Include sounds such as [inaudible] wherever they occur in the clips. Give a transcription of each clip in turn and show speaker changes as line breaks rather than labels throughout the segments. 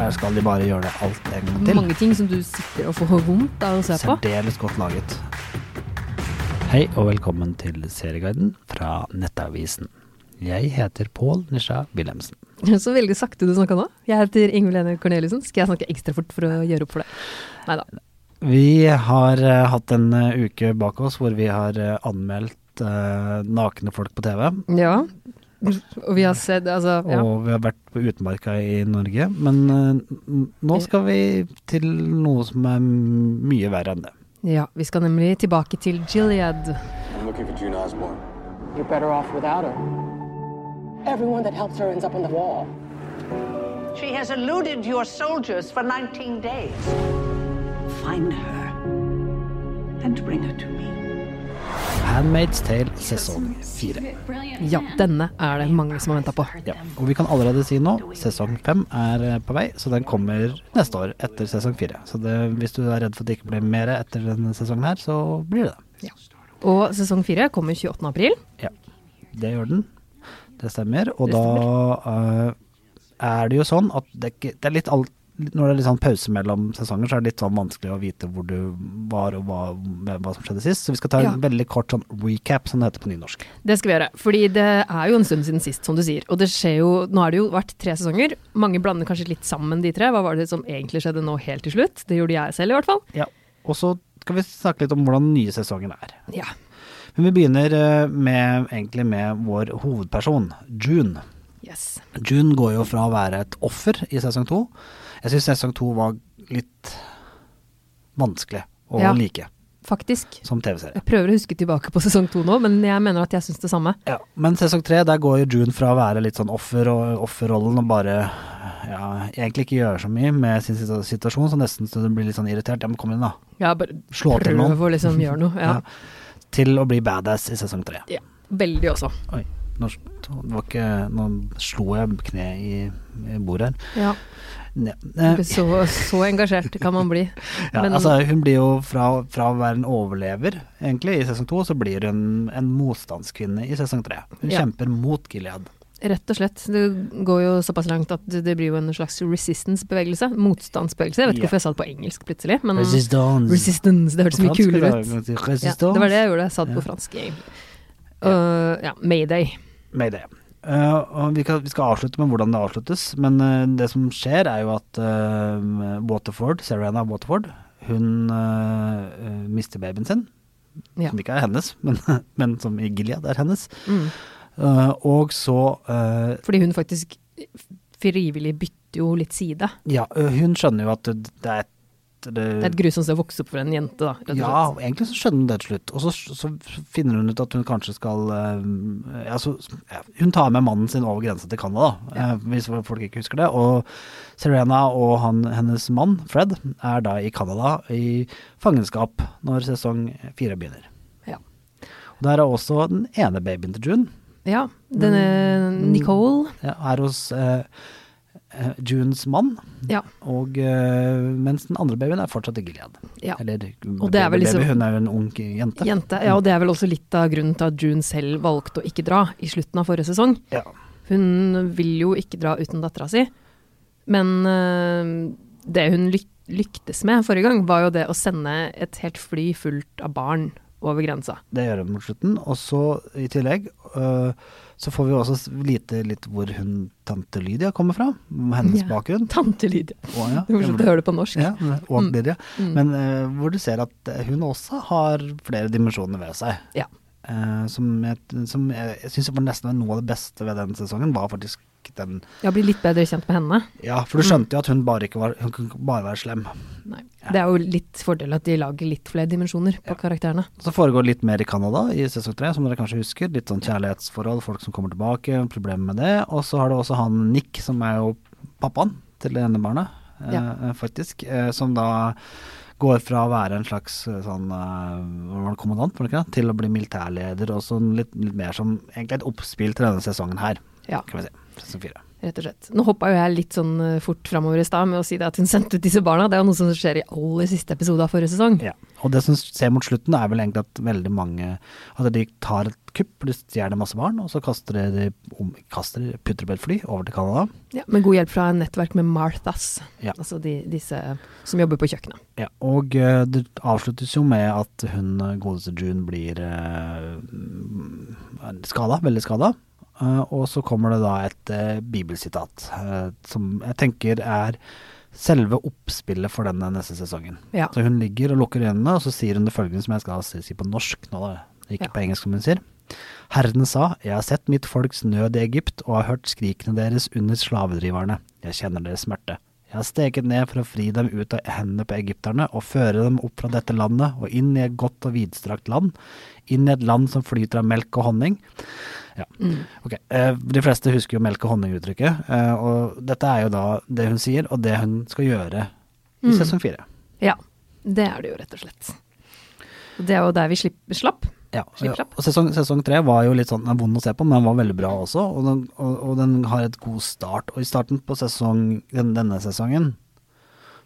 Der skal de bare gjøre det alt en gang til.
Mange ting som du sitter og får vondt av å se på.
Særdeles godt laget. Hei og velkommen til Serieguiden fra Nettavisen. Jeg heter Pål Nisha Wilhelmsen.
Så veldig sakte du snakka nå. Jeg heter Ingvild Ene Corneliussen. Skal jeg snakke ekstra fort for å gjøre opp for det? Nei da.
Vi har eh, hatt en eh, uke bak oss hvor vi har eh, anmeldt eh, nakne folk på TV.
Ja. Og vi har sett Altså, ja.
Og vi har vært på utmarka i Norge. Men eh, n- nå skal vi til noe som er m- mye verre enn det.
ja. Vi skal nemlig tilbake til Gilead.
I'm looking for June Osborne.
You're better off without her. Everyone that helps her ends up on the wall.
She has eluded your soldiers for 19 days. Find her and bring her to me.
Handmaid's Tale sesong fire.
Ja, denne er det mange som har venta på.
Ja, og vi kan allerede si nå, sesong fem er eh, på vei, så den kommer neste år etter sesong fire. Så det, hvis du er redd for at det ikke blir mer etter denne sesongen her, så blir det det.
Og sesong fire kommer 28. april.
Ja, det gjør den. Det stemmer. Og da eh, er det jo sånn at det, ikke- det er litt alt når det er litt sånn pause mellom sesonger, så er det litt sånn vanskelig å vite hvor du var og hva, hva som skjedde sist. Så vi skal ta en
Ja.
veldig kort sånn recap, som det heter på nynorsk.
Det skal vi gjøre. Fordi det er jo en stund siden sist, som du sier. Og det skjer jo Nå har det jo vært tre sesonger. Mange blander kanskje litt sammen de tre. Hva var det som egentlig skjedde nå helt til slutt? Det gjorde jeg selv, i hvert fall.
Ja. Og så skal vi snakke litt om hvordan den nye sesongen er.
Ja.
Men vi begynner eh, med, egentlig med vår hovedperson, June.
Yes.
June går jo fra å være et offer i sesong to. Jeg syns sesong to var litt vanskelig å
Ja.
like
Faktisk.
som TV-serie.
Jeg prøver å huske tilbake på sesong to nå, men jeg mener at jeg syns det samme.
Ja, men sesong tre, der går jo June fra å være litt sånn offer og offerrollen og bare ja, egentlig ikke gjøre så mye med sin situ- situasjon, så nesten så hun blir litt sånn irritert. Ja, men kom inn, da.
Ja, bare
Slå til noen.
prøv å liksom gjøre noe. Ja.
[laughs] Ja. Til å bli badass i sesong tre.
ja. Veldig også.
Oi, nå, s- det var ikke, nå slo jeg kneet i, i bordet her.
Ja.
Ne- eh,
Så, så engasjert kan man bli.
[laughs] Ja,
Men-
altså Hun blir jo fra, fra å være en overlever egentlig i sesong to, så blir hun en motstandskvinne i sesong tre. Hun
Ja.
kjemper mot Gilead.
Rett og slett. Det går jo såpass langt at det blir jo en slags resistance-bevegelse. Motstandsbevegelse. Jeg vet
Ja.
ikke hvorfor jeg sa det på engelsk plutselig, men
Resistance.
Mm. Resistance, det
På
hørtes mye
fransk
kulere
er
ut.
det-
Ja,
Resistance.
det var det jeg gjorde, jeg sa det på fransk, egentlig. Uh, ja, Mayday.
Med det. Eh, og vi, kan, vi skal avslutte med hvordan det avsluttes, men eh, det som skjer er jo at eh, Waterford, Serena Waterford, hun eh, eh, mister babyen sin.
Ja.
Som ikke er hennes, men, [laughs] men som i Gilead er hennes.
Mm.
Eh, og så eh,
Fordi hun faktisk frivillig bytter jo litt side.
Ja, ø, hun skjønner jo at det det er et det,
Det er et grusomt sted å vokse opp for en jente, da. Rett og
Ja,
slett.
egentlig så skjønner hun det til slutt. Og så, så finner hun ut at hun kanskje skal ø, ja, så, ja, Hun tar med mannen sin over grensa til Canada, da, ø, hvis folk ikke husker det. Og Serena og han, hennes mann, Fred, er da i Canada i fangenskap når sesong fire begynner.
Ja.
Og Der er også den ene babyen til June.
ja. Denne
Mm.
Nicole.
Ja, er hos ø, ø, Junes mann.
Ja.
Og eh, mens den andre babyen er fortsatt i Gilead.
Ja.
Eller
Og det er vel
baby,
liksom-
hun er jo en ung jente.
Jente. Ja, og det er vel også litt av grunnen til at June selv valgte å ikke dra i slutten av forrige sesong.
Ja.
Hun vil jo ikke dra uten dattera si, men øh, det hun lyk lyktes med forrige gang, var jo det å sende et helt fly fullt av barn over grensa.
Det gjør hun mot slutten. Og så i tillegg eh, så får vi også s- vite litt hvor hun tante Lydia kommer fra. Hennes
Ja.
bakgrunn.
Tante Lydia.
Å, ja.
Det er morsomt å høre det på norsk.
Ja, og
Mm.
Lydia. Men eh, hvor du ser at eh, hun også har flere dimensjoner ved seg.
Ja.
Eh, som jeg, som jeg, jeg syns nesten var noe av det beste ved den sesongen, var faktisk den
Jeg blir litt bedre kjent med henne.
Ja, for du
Mm.
skjønte jo at hun bare ikke var Hun kunne ikke bare være slem.
Nei. Det er jo litt fordel at de lager litt flere dimensjoner på karakterene.
Så foregår litt mer i Canada i sesong tre, som dere kanskje husker. Litt sånn kjærlighetsforhold, folk som kommer tilbake, problemer med det. Og så har du også han Nick, som er jo pappaen til det ene barnet, eh,
Ja.
faktisk. Eh, som da går fra å være en slags eh, sånn eh, hva var det, kommandant, var det ikke det, til å bli militærleder, og sånn litt, litt mer som egentlig et oppspill til denne sesongen her,
Ja.
kan vi si. Sesong fire.
Rett og slett. Nå hoppa jo jeg litt sånn eh, fort framover i stad med å si det at hun sendte ut disse barna. Det er jo noe som skjer i aller siste episode av forrige sesong.
Ja. Og det som skjer mot slutten, er vel egentlig at veldig mange At de tar et kupp, de stjeler masse barn, og så kaster de, de om, kaster, de- putter på et fly over til Canada.
Ja, med god hjelp fra en nettverk med Marthas,
Ja.
altså de, disse som jobber på kjøkkenet.
Ja, og eh, det avsluttes jo med at hun eh, godeste June blir uh, skada, veldig skada. og så kommer det da et eh, bibelsitat eh, som jeg tenker er selve oppspillet for denne neste sesongen.
Ja.
Så hun ligger og lukker øynene, og så sier hun det følgende som jeg skal si- si på norsk nå, da. Ikke
Ja.
på engelsk, som hun sier. Herren sa, jeg har sett mitt folks nød i Egypt og har hørt skrikene deres under slavedriverne. Jeg kjenner deres smerte. Jeg har steget ned for å fri dem ut av hendene på egypterne og føre dem opp fra dette landet og inn i et godt og vidstrakt land, inn i et land som flyter av melk og honning. Ja, ok. Eh, De fleste husker jo melk og honning-uttrykket, eh, og dette er jo da det hun sier, og det hun skal gjøre i sesong fire.
Ja, det er det jo rett og slett. Og det er jo der vi slipper, slapp.
Ja,
Slipp slapp.
og sesong, sesong tre var jo litt sånn den er vond å se på, men den var veldig bra også. Og den, og, og den har et god start. Og i starten på sesong, den, denne sesongen,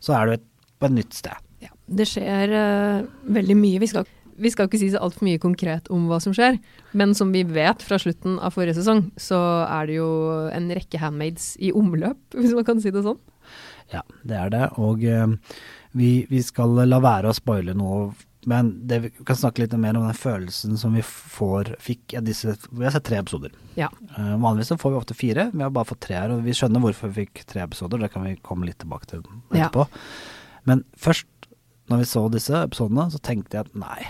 så er du et, på et nytt sted.
Ja, det skjer eh, veldig mye. Vi skal, vi skal ikke si så altfor mye konkret om hva som skjer, men som vi vet fra slutten av forrige sesong, så er det jo en rekke handmaids i omløp, [laughs] hvis man kan si det sånn.
Ja, det er det. Og eh, vi, vi skal la være å spoile noe, men det, vi kan snakke litt mer om den følelsen som vi får, fikk av disse Vi har sett tre episoder.
Ja.
Eh, vanligvis så får vi ofte fire, vi har bare fått tre her. Og vi skjønner hvorfor vi fikk tre episoder, det kan vi komme litt tilbake til
Ja.
etterpå. Men først, når vi så disse episodene, så tenkte jeg at nei,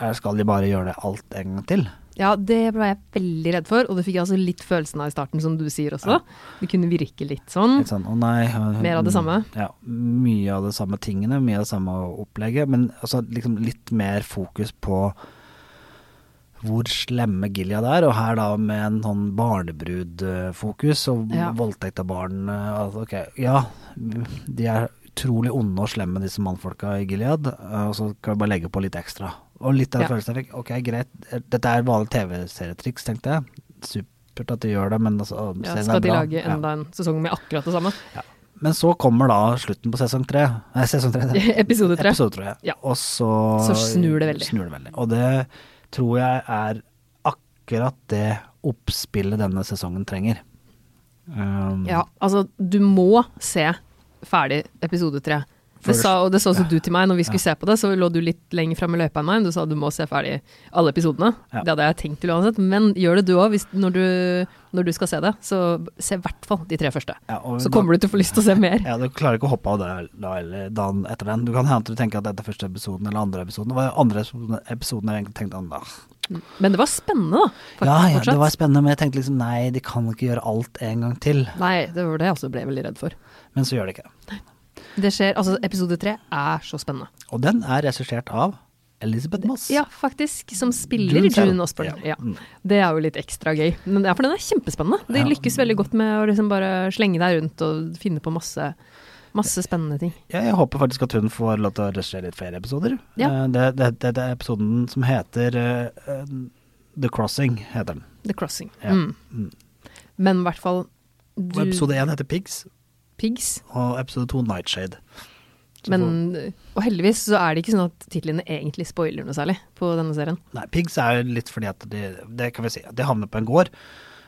her skal de bare gjøre det alt en gang til?
Ja, det ble jeg veldig redd for, og det fikk jeg altså litt følelsen av i starten, som du sier også. Det kunne virke litt sånn.
Litt sånn, å nei. øh,
Mer av det samme?
Ja. Mye av det samme tingene, mye av det samme opplegget. Men altså, liksom litt mer fokus på hvor slemme Gilead er, og her da med en sånn barnebrud-fokus og
Ja.
voldtekt av barn. øh, Altså, ok, ja, de er utrolig onde og slemme, disse mannfolka i Gilead, øh, og så kan vi bare legge på litt ekstra. Og litt av
Ja.
følelsen jeg fikk, ok, greit, eh, dette er vanlige TV-serietriks, tenkte jeg. Supert at de gjør det, men altså, øh,
Ja,
serien er
skal de
bra.
lage
Ja.
enda en sesong med akkurat det samme?
Men så kommer da slutten på sesong tre. Nei, sesong tre. det.
[laughs] Episode tre.
Episode tre.
Ja.
Og så
Så snur det veldig.
snur det veldig. Og det tror jeg er akkurat det oppspillet denne sesongen trenger. Um,
Ja, altså du må se ferdig episode tre. Det
Først.
sa, og det så også du til meg når vi skulle se på det, så lå du litt lenger fram i løypa enn meg. men Du sa du må se ferdig alle episodene.
Ja.
Det hadde jeg tenkt til uansett, men gjør det du òg når, du- når du skal se det. Så se i hvert fall de tre første.
Ja, og
Så kommer du til å få lyst til å se mer.
Ja, du klarer ikke å hoppe av det da, eller dagen etter den. Du kan hende du tenker at dette er første episoden eller andre episoden. Det var andre episoden- episoden jeg egentlig tenkte «Ah,
Men det var spennende, da. Faktisk,
Ja, ja, det
fortsatt.
var spennende, men jeg tenkte liksom nei, de kan ikke gjøre alt en gang til.
Nei, det var det jeg også ble veldig redd for.
Men så gjør de ikke det.
Det skjer, altså Episode tre er så spennende.
Og den er regissert av Elizabeth Moss.
Ja, faktisk. Som spiller
June
June,
Sand.
Osborne.
Ja. Mm.
Ja. Det er jo litt ekstra gøy. Men ja, for den er kjempespennende. De lykkes veldig godt med å liksom bare slenge deg rundt og finne på masse, masse spennende ting.
Ja, jeg håper faktisk at hun får lov til å regissere litt flere episoder.
Ja.
Eh, Det, det, det, det er episoden som heter eh, eh, The Crossing, heter den.
The Crossing.
Ja.
Mm. Men i hvert fall
Og
du,
episode én heter Pigs,
Pigs.
og episode to Nightshade. Så får-
Men, og heldigvis så er det ikke sånn at titlene egentlig spoiler noe særlig på denne serien.
Nei, Pigs er jo litt fordi at de, det kan vi si, de havner på en gård,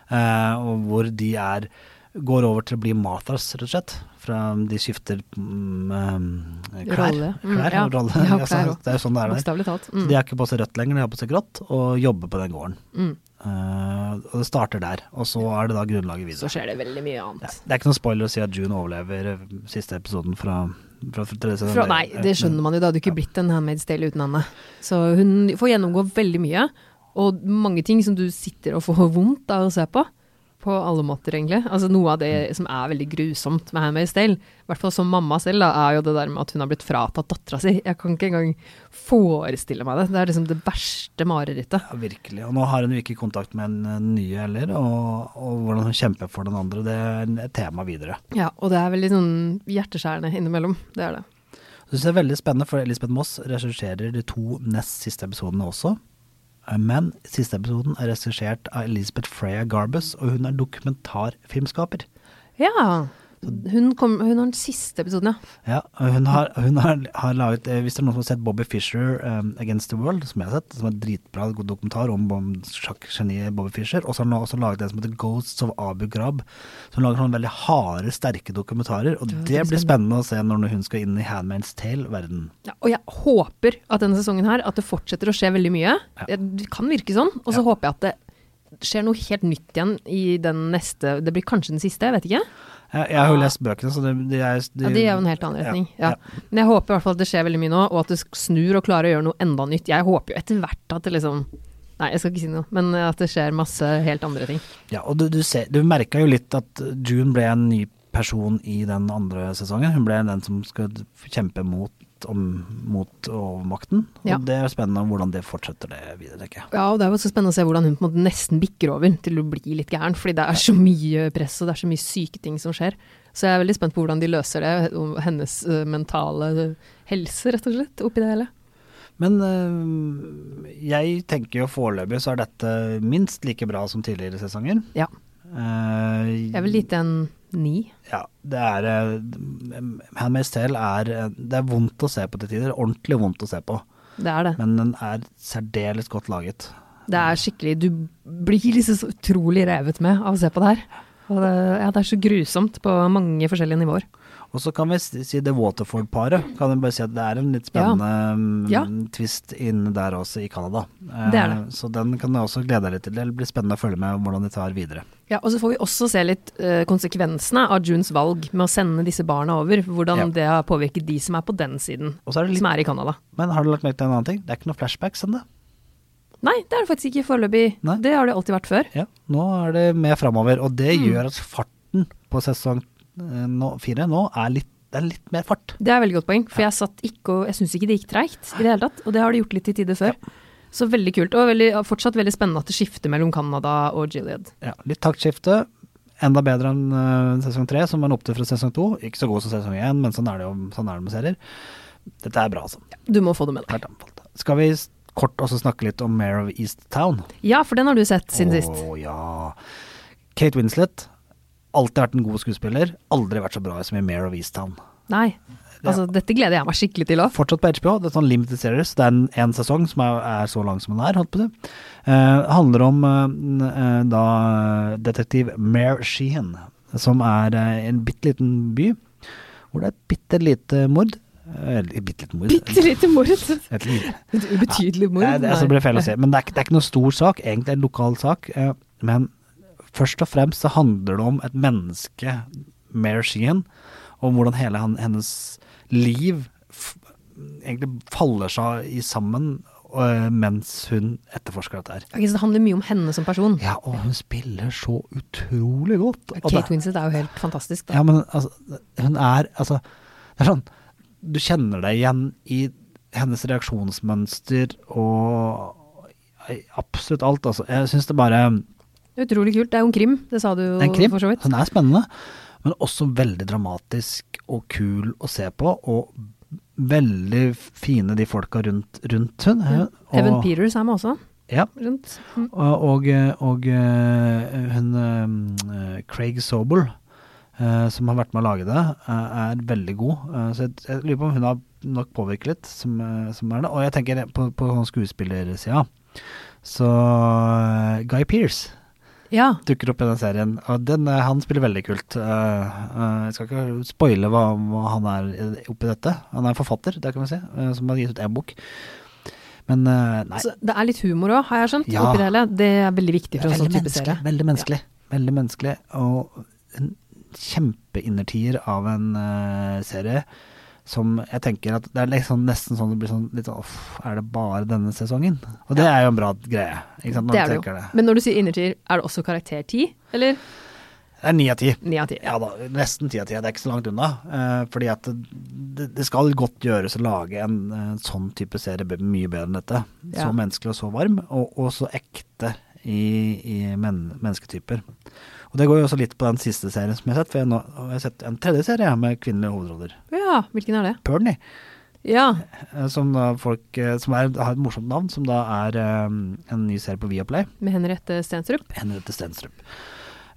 eh, og hvor de er, går over til å bli Marthas, rett og slett. Fra de skifter mm, eh, klær.
Rolle. Mm,
Klær
ja.
og rolle. [laughs]
Ja,
Altså,
klær også.
det er jo sånn det er der.
Bokstavelig talt.
Så
Mm.
de har ikke på seg rødt lenger, de har på seg grått, og jobber på den gården. Eh, og det starter der, og så er det da grunnlaget
Så
videre.
skjer det veldig mye
Ja,
annet.
det er ikke noen spoiler å si at June overlever eh, siste episoden fra, fra, fra tredje sesong.
Fra, nei, det skjønner man jo. Det hadde jo ikke blitt en Handmaid's Tale uten henne. Så hun får gjennomgå veldig mye, og mange ting som du sitter og får vondt av å se på. På alle måter, egentlig. Altså Noe av det som er veldig grusomt med Handmaid's Tale, i hvert fall som mamma selv, da, er jo det der med at hun har blitt fratatt dattera si. Jeg kan ikke engang forestille meg det. Det er liksom det verste marerittet.
Ja, virkelig. Og nå har hun jo ikke kontakt med den eh, nye heller, og, og hvordan hun kjemper for den andre, det er en- et tema videre.
Ja, og det er veldig sånn hjerteskjærende innimellom. Det er det.
Så det er veldig spennende, for Elisabeth Moss regisserer de to nest siste episodene også. Eh, Men siste episoden er regissert av Elisabeth Freya Garbus, og hun er dokumentarfilmskaper.
Ja. Hun, kom, hun har den siste episoden, ja.
Ja, og hun har, hun har, har laget eh, Hvis det er noen som har sett Bobby Fischer eh, Against the World, som jeg har sett, som er en dritbra god dokumentar om, om sjakkgeniet Bobby Fischer, og så har hun også laget en som heter Ghosts of Abu Ghraib, som lager sånne veldig harde, sterke dokumentarer, og det blir spennende å se når hun skal inn i Handmaid's Tale-verden.
ja. Og jeg håper at denne sesongen her, at det fortsetter å skje veldig mye. Det kan virke sånn. Og så håper jeg at det skjer noe helt nytt igjen i den neste Det blir kanskje den siste, jeg vet ikke.
Jeg, jeg har jo lest bøkene, så det, det er
Ja, Det er jo en helt annen retning. Ja,
ja.
Men jeg håper i hvert fall at det skjer veldig mye nå, og at det sk- snur og klarer å gjøre noe enda nytt. Jeg håper jo etter hvert at det liksom Nei, jeg skal ikke si noe, men at det skjer masse helt andre ting.
Ja, og du, du, ser- du merka jo litt at June ble en ny person i den andre sesongen. Hun ble den som skal kjempe mot, om, mot overmakten. Og
Ja.
det er spennende hvordan det fortsetter det videre, tenker jeg.
Ja, og det er jo også spennende å se hvordan hun på en måte nesten bikker over til å bli litt gæren, fordi det er så mye press og det er så mye syke ting som skjer. Så jeg er veldig spent på hvordan de løser det, og hennes eh, mentale helse, rett og slett, oppi det hele.
Men øh, jeg tenker jo foreløpig så er dette minst like bra som tidligere sesonger.
Ja.
Eh,
Jeg vil lite en ni.
Ja, det er eh, Handmaid's Tale er eh, Det er vondt å se på til tider. Ordentlig vondt å se på.
Det er det.
Men den er særdeles godt laget.
Det er skikkelig Du blir liksom så utrolig revet med av å se på det her. Og det, ja, det er så grusomt på mange forskjellige nivåer.
Og så kan vi si si The Waterford-paret. Kan jeg bare si at Det er en litt spennende mm,
Ja.
twist inne der også, i Canada. Eh,
Det er det.
Så den kan jeg også glede deg litt til. Det blir spennende å følge med hvordan de tar videre.
Ja, og så får vi også se litt eh, konsekvensene av Junes valg med å sende disse barna over. Hvordan
Ja.
det har påvirket de som er på den siden,
Og så er det litt-
som er i Canada.
Men har du lagt merke til en annen ting? Det er ikke noe flashbacks ennå.
Nei, det er det faktisk ikke foreløpig.
Nei.
Det har det alltid vært før.
Ja, nå er det med framover. Og det
Mm.
gjør at farten på sesong eh, nå- fire nå er litt, det er litt mer fart.
Det er veldig godt poeng, for jeg satt ikke og Jeg syns ikke det gikk treigt i det hele tatt, og det har det gjort litt til tider før. Så veldig kult, og veldig, fortsatt veldig spennende at det skifter mellom Canada og Gilead.
Ja, litt taktskifte. Enda bedre enn eh, sesong tre, som var en opptur fra sesong to. Ikke så god som sesong én, men sånn er det jo sånn er det med serier. Dette er bra, altså.
Du må få det med deg.
Klart anbefalt. Skal vi s- kort også snakke litt om Mare of East Town?
Ja, for den har du sett siden sist.
Å ja. Kate Winslet. Alltid vært en god skuespiller. Aldri vært så bra som i Mare of East Town.
Nei. Altså, dette gleder jeg meg skikkelig til òg.
Fortsatt på HBO. Det er sånn limited series. Det er en, en sesong som er, er så lang som den er. Holdt på det. handler om eh, n- eh, da eh, detektiv Mare Sheehan, som er eh, en bitte liten by hvor det er et bitte lite mord. Eh, Eller bitte lite mord.
Bitte lite mord.
Et lite-
Et ubetydelig mord.
Nei, det, altså, det ble feil å si. Men det er, ikke- det er ikke noe stor sak, egentlig en lokal sak. eh, Men først og fremst så handler det om et menneske, Mare Sheehan, om hvordan hele han, hennes liv f egentlig faller seg i sammen eh, mens hun etterforsker dette her.
Ok, så det handler mye om henne som person.
Ja, og hun spiller så utrolig godt. Og det-
Kate Winslet er jo helt fantastisk. Da.
ja, men altså, hun er altså, Det er sånn Du kjenner deg igjen i hennes reaksjonsmønster og i absolutt alt, altså. Jeg syns det bare Det
Utrolig kult. Det er jo en krim, det sa du jo
er en krim.
for så vidt.
Den er spennende, men også veldig dramatisk og kul å se på. Og veldig fine de folka rundt, rundt hun. Og-
Evan Peters er med også.
Ja.
Rundt. Mm.
Og, og, og eh, hun eh, Craig Sobel, eh, som har vært med å lage det, eh, er veldig god. Eh, Så jeg, jeg lurer på om hun har nok påvirket litt, som, eh, som er det. Og jeg tenker på, på sånn skuespillersida. Så eh, Guy Pearce
Ja.
dukker opp i den serien, og den, eh, han spiller veldig kult. Eh, eh, jeg skal ikke spoile hva, hva han er i- oppi dette. Han er forfatter, det kan vi si, eh, som har gitt ut én bok. Men eh, nei.
Så det er litt humor òg, har jeg skjønt.
Ja.
Oppi det hele. Det er veldig viktig for en
Veldig
sånn type
menneskelig,
serie.
Veldig menneskelig. Veldig menneskelig. Og en kjempeinnertier av en eh, serie som jeg tenker at det er liksom nesten sånn det blir sånn litt sånn Uff, er det bare denne sesongen? Og det er jo en bra greie. Ikke sant, når
Det
du
er det
tenker
jo.
det.
Men når du sier innertier, er det også karakter ti? Eller
Det er ni av ti.
ni av ti?
Ja da, nesten ti av ti. Det er ikke så langt unna. Eh, fordi at det, det skal godt gjøres å lage en eh, sånn type serie be- mye bedre enn dette.
Ja.
Så menneskelig og så varm, og, og så ekte i, i men, mennesketyper. Og det går jo også litt på den siste serien som jeg har sett, for jeg, nå, har jeg sett en tredje serie jeg, med kvinnelige hovedroller.
Ja, hvilken er det?
Pernie.
Ja.
eh, som, da folk, eh, som er, har et morsomt navn, som da er eh, en ny serie på Viaplay.
Med Henriette Stenstrup.
Henriette Stenstrup.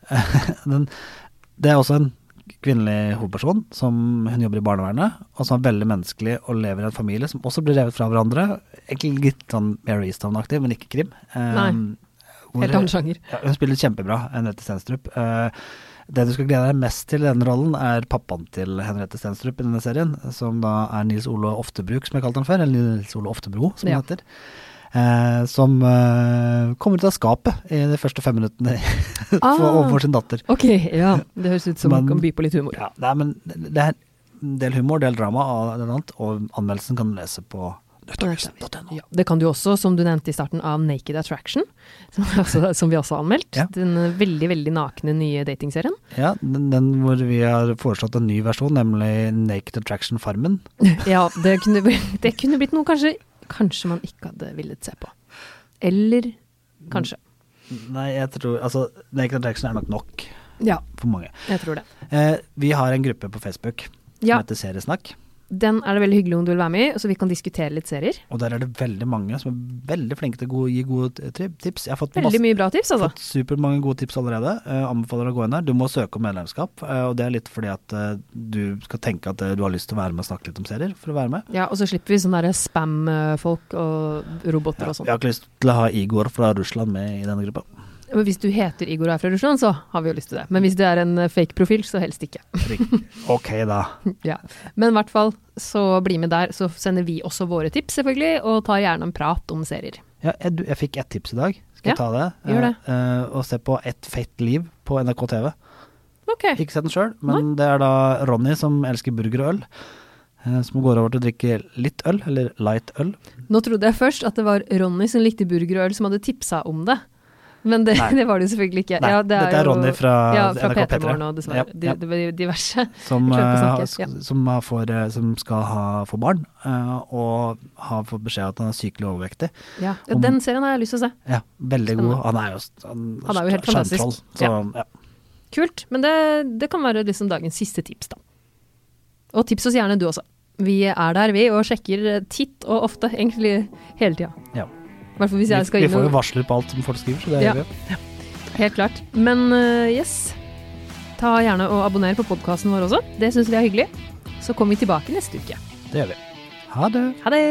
[laughs] Den, det er også en kvinnelig hovedperson som hun jobber i barnevernet, og som er veldig menneskelig og lever i en familie som også blir revet fra hverandre. Egentlig litt sånn Mary Easton-aktig, men ikke krim. Eh,
Nei.
hvor-
Helt annen sjanger.
ja, hun spiller kjempebra, Henriette Stenstrup. Eh, det du skal glede deg mest til i denne rollen, er pappaen til Henriette Stenstrup i denne serien, som da er Nils Ole Oftebruk, som jeg kalte han før, eller Nils Ole Oftebro, som
Ja.
han heter. Eh, som eh, kommer ut av skapet i de første fem minuttene [laughs] for,
Ah.
overfor sin datter.
Ok, ja. Det høres ut som
Men-
man kan by på litt humor.
Ja, nei, men det er en del humor, del drama, og, det annet, og anmeldelsen kan du lese på nøttavisen.no.
Ja, det kan du også, som du nevnte i starten, av Naked Attraction, [laughs] som, vi også- som vi også har anmeldt.
Ja.
Den eh, veldig, veldig nakne nye datingserien. [laughs]
Ja, den, den hvor vi har foreslått en ny versjon, nemlig Naked Attraction Farmen.
Ja, det kunne, bli- det kunne blitt noe kanskje, kanskje man ikke hadde villet se på. Eller kanskje.
Mm. Nei, jeg tror Altså, Naked Attraction er nok nok
Ja,
for mange.
jeg tror det.
Eh, vi har en gruppe på Facebook som
Ja.
heter Seriesnakk.
Den er det veldig hyggelig om du vil være med i, så vi kan diskutere litt serier.
Og der er det veldig mange som er veldig flinke til å gi gode t- tri- tips. Jeg har fått,
Veldig mye bra tips, altså.
fått supermange gode tips allerede. Eh, anbefaler å gå inn der. Du må søke om medlemskap, eh, og det er litt fordi at eh, du skal tenke at eh, du har lyst til å være med og snakke litt om serier for å være med.
Ja, og så slipper vi sånne der spam-folk og roboter
Ja,
og
jeg
sånn.
har ikke lyst til å ha Igor fra Russland med i denne gruppa.
Men hvis du heter Igor og er fra Russland, så har vi jo lyst til det. Men hvis det er en eh, fake profil, så helst ikke. [laughs]
Rik- Ok, da.
Ja. Men i hvert fall, så bli med der. Så sender vi også våre tips, selvfølgelig, og tar gjerne en prat om serier.
Ja, jeg, du- jeg fikk ett tips i dag. Skal
Ja,
jeg ta det?
gjør det.
Eh, eh, og se på Et fett liv på NRK TV.
Ok.
Ikke sett den sjøl, men det er da Ronny som elsker burger og øl. eh, Som går over til å drikke litt øl, eller light øl.
Nå trodde jeg først at det var Ronny som likte burger og øl, som hadde tipsa om det. Men det,
Nei.
[laughs] det var det jo selvfølgelig ikke.
Nei, dette er Ronny fra
ja, fra
NRK
P3 Morgen
P3.
og
Ja,
dessverre.
ja.
De, de, de diverse.
Som,
Jeg skjønte
eh,
ikke,
sk-
ja.
som, har får, eh, som skal ha få barn, eh, og har fått beskjed om at han er sykelig overvektig.
Ja. ja, den serien har jeg lyst til å se.
Ja, Veldig god.
Spennende.
Han er jo, s- han,
Han er jo helt
skjermtroll,
fantastisk.
Så, ja.
Kult. Men det, det kan være liksom dagens siste tips, da. Og tips oss gjerne du også. Vi er der, vi, og sjekker eh, titt og ofte. Egentlig hele tida.
Ja.
I hvert fall hvis jeg
Vi,
skal
vi
inn
får jo
og
varsler på alt som folk skriver, så det
Ja.
gjør vi jo.
Helt klart. Men eh, yes, ta gjerne og abonner på podkasten vår også. Det syns vi er hyggelig. Så kommer vi tilbake neste uke.
Det gjør vi. Ha det.
Ha det!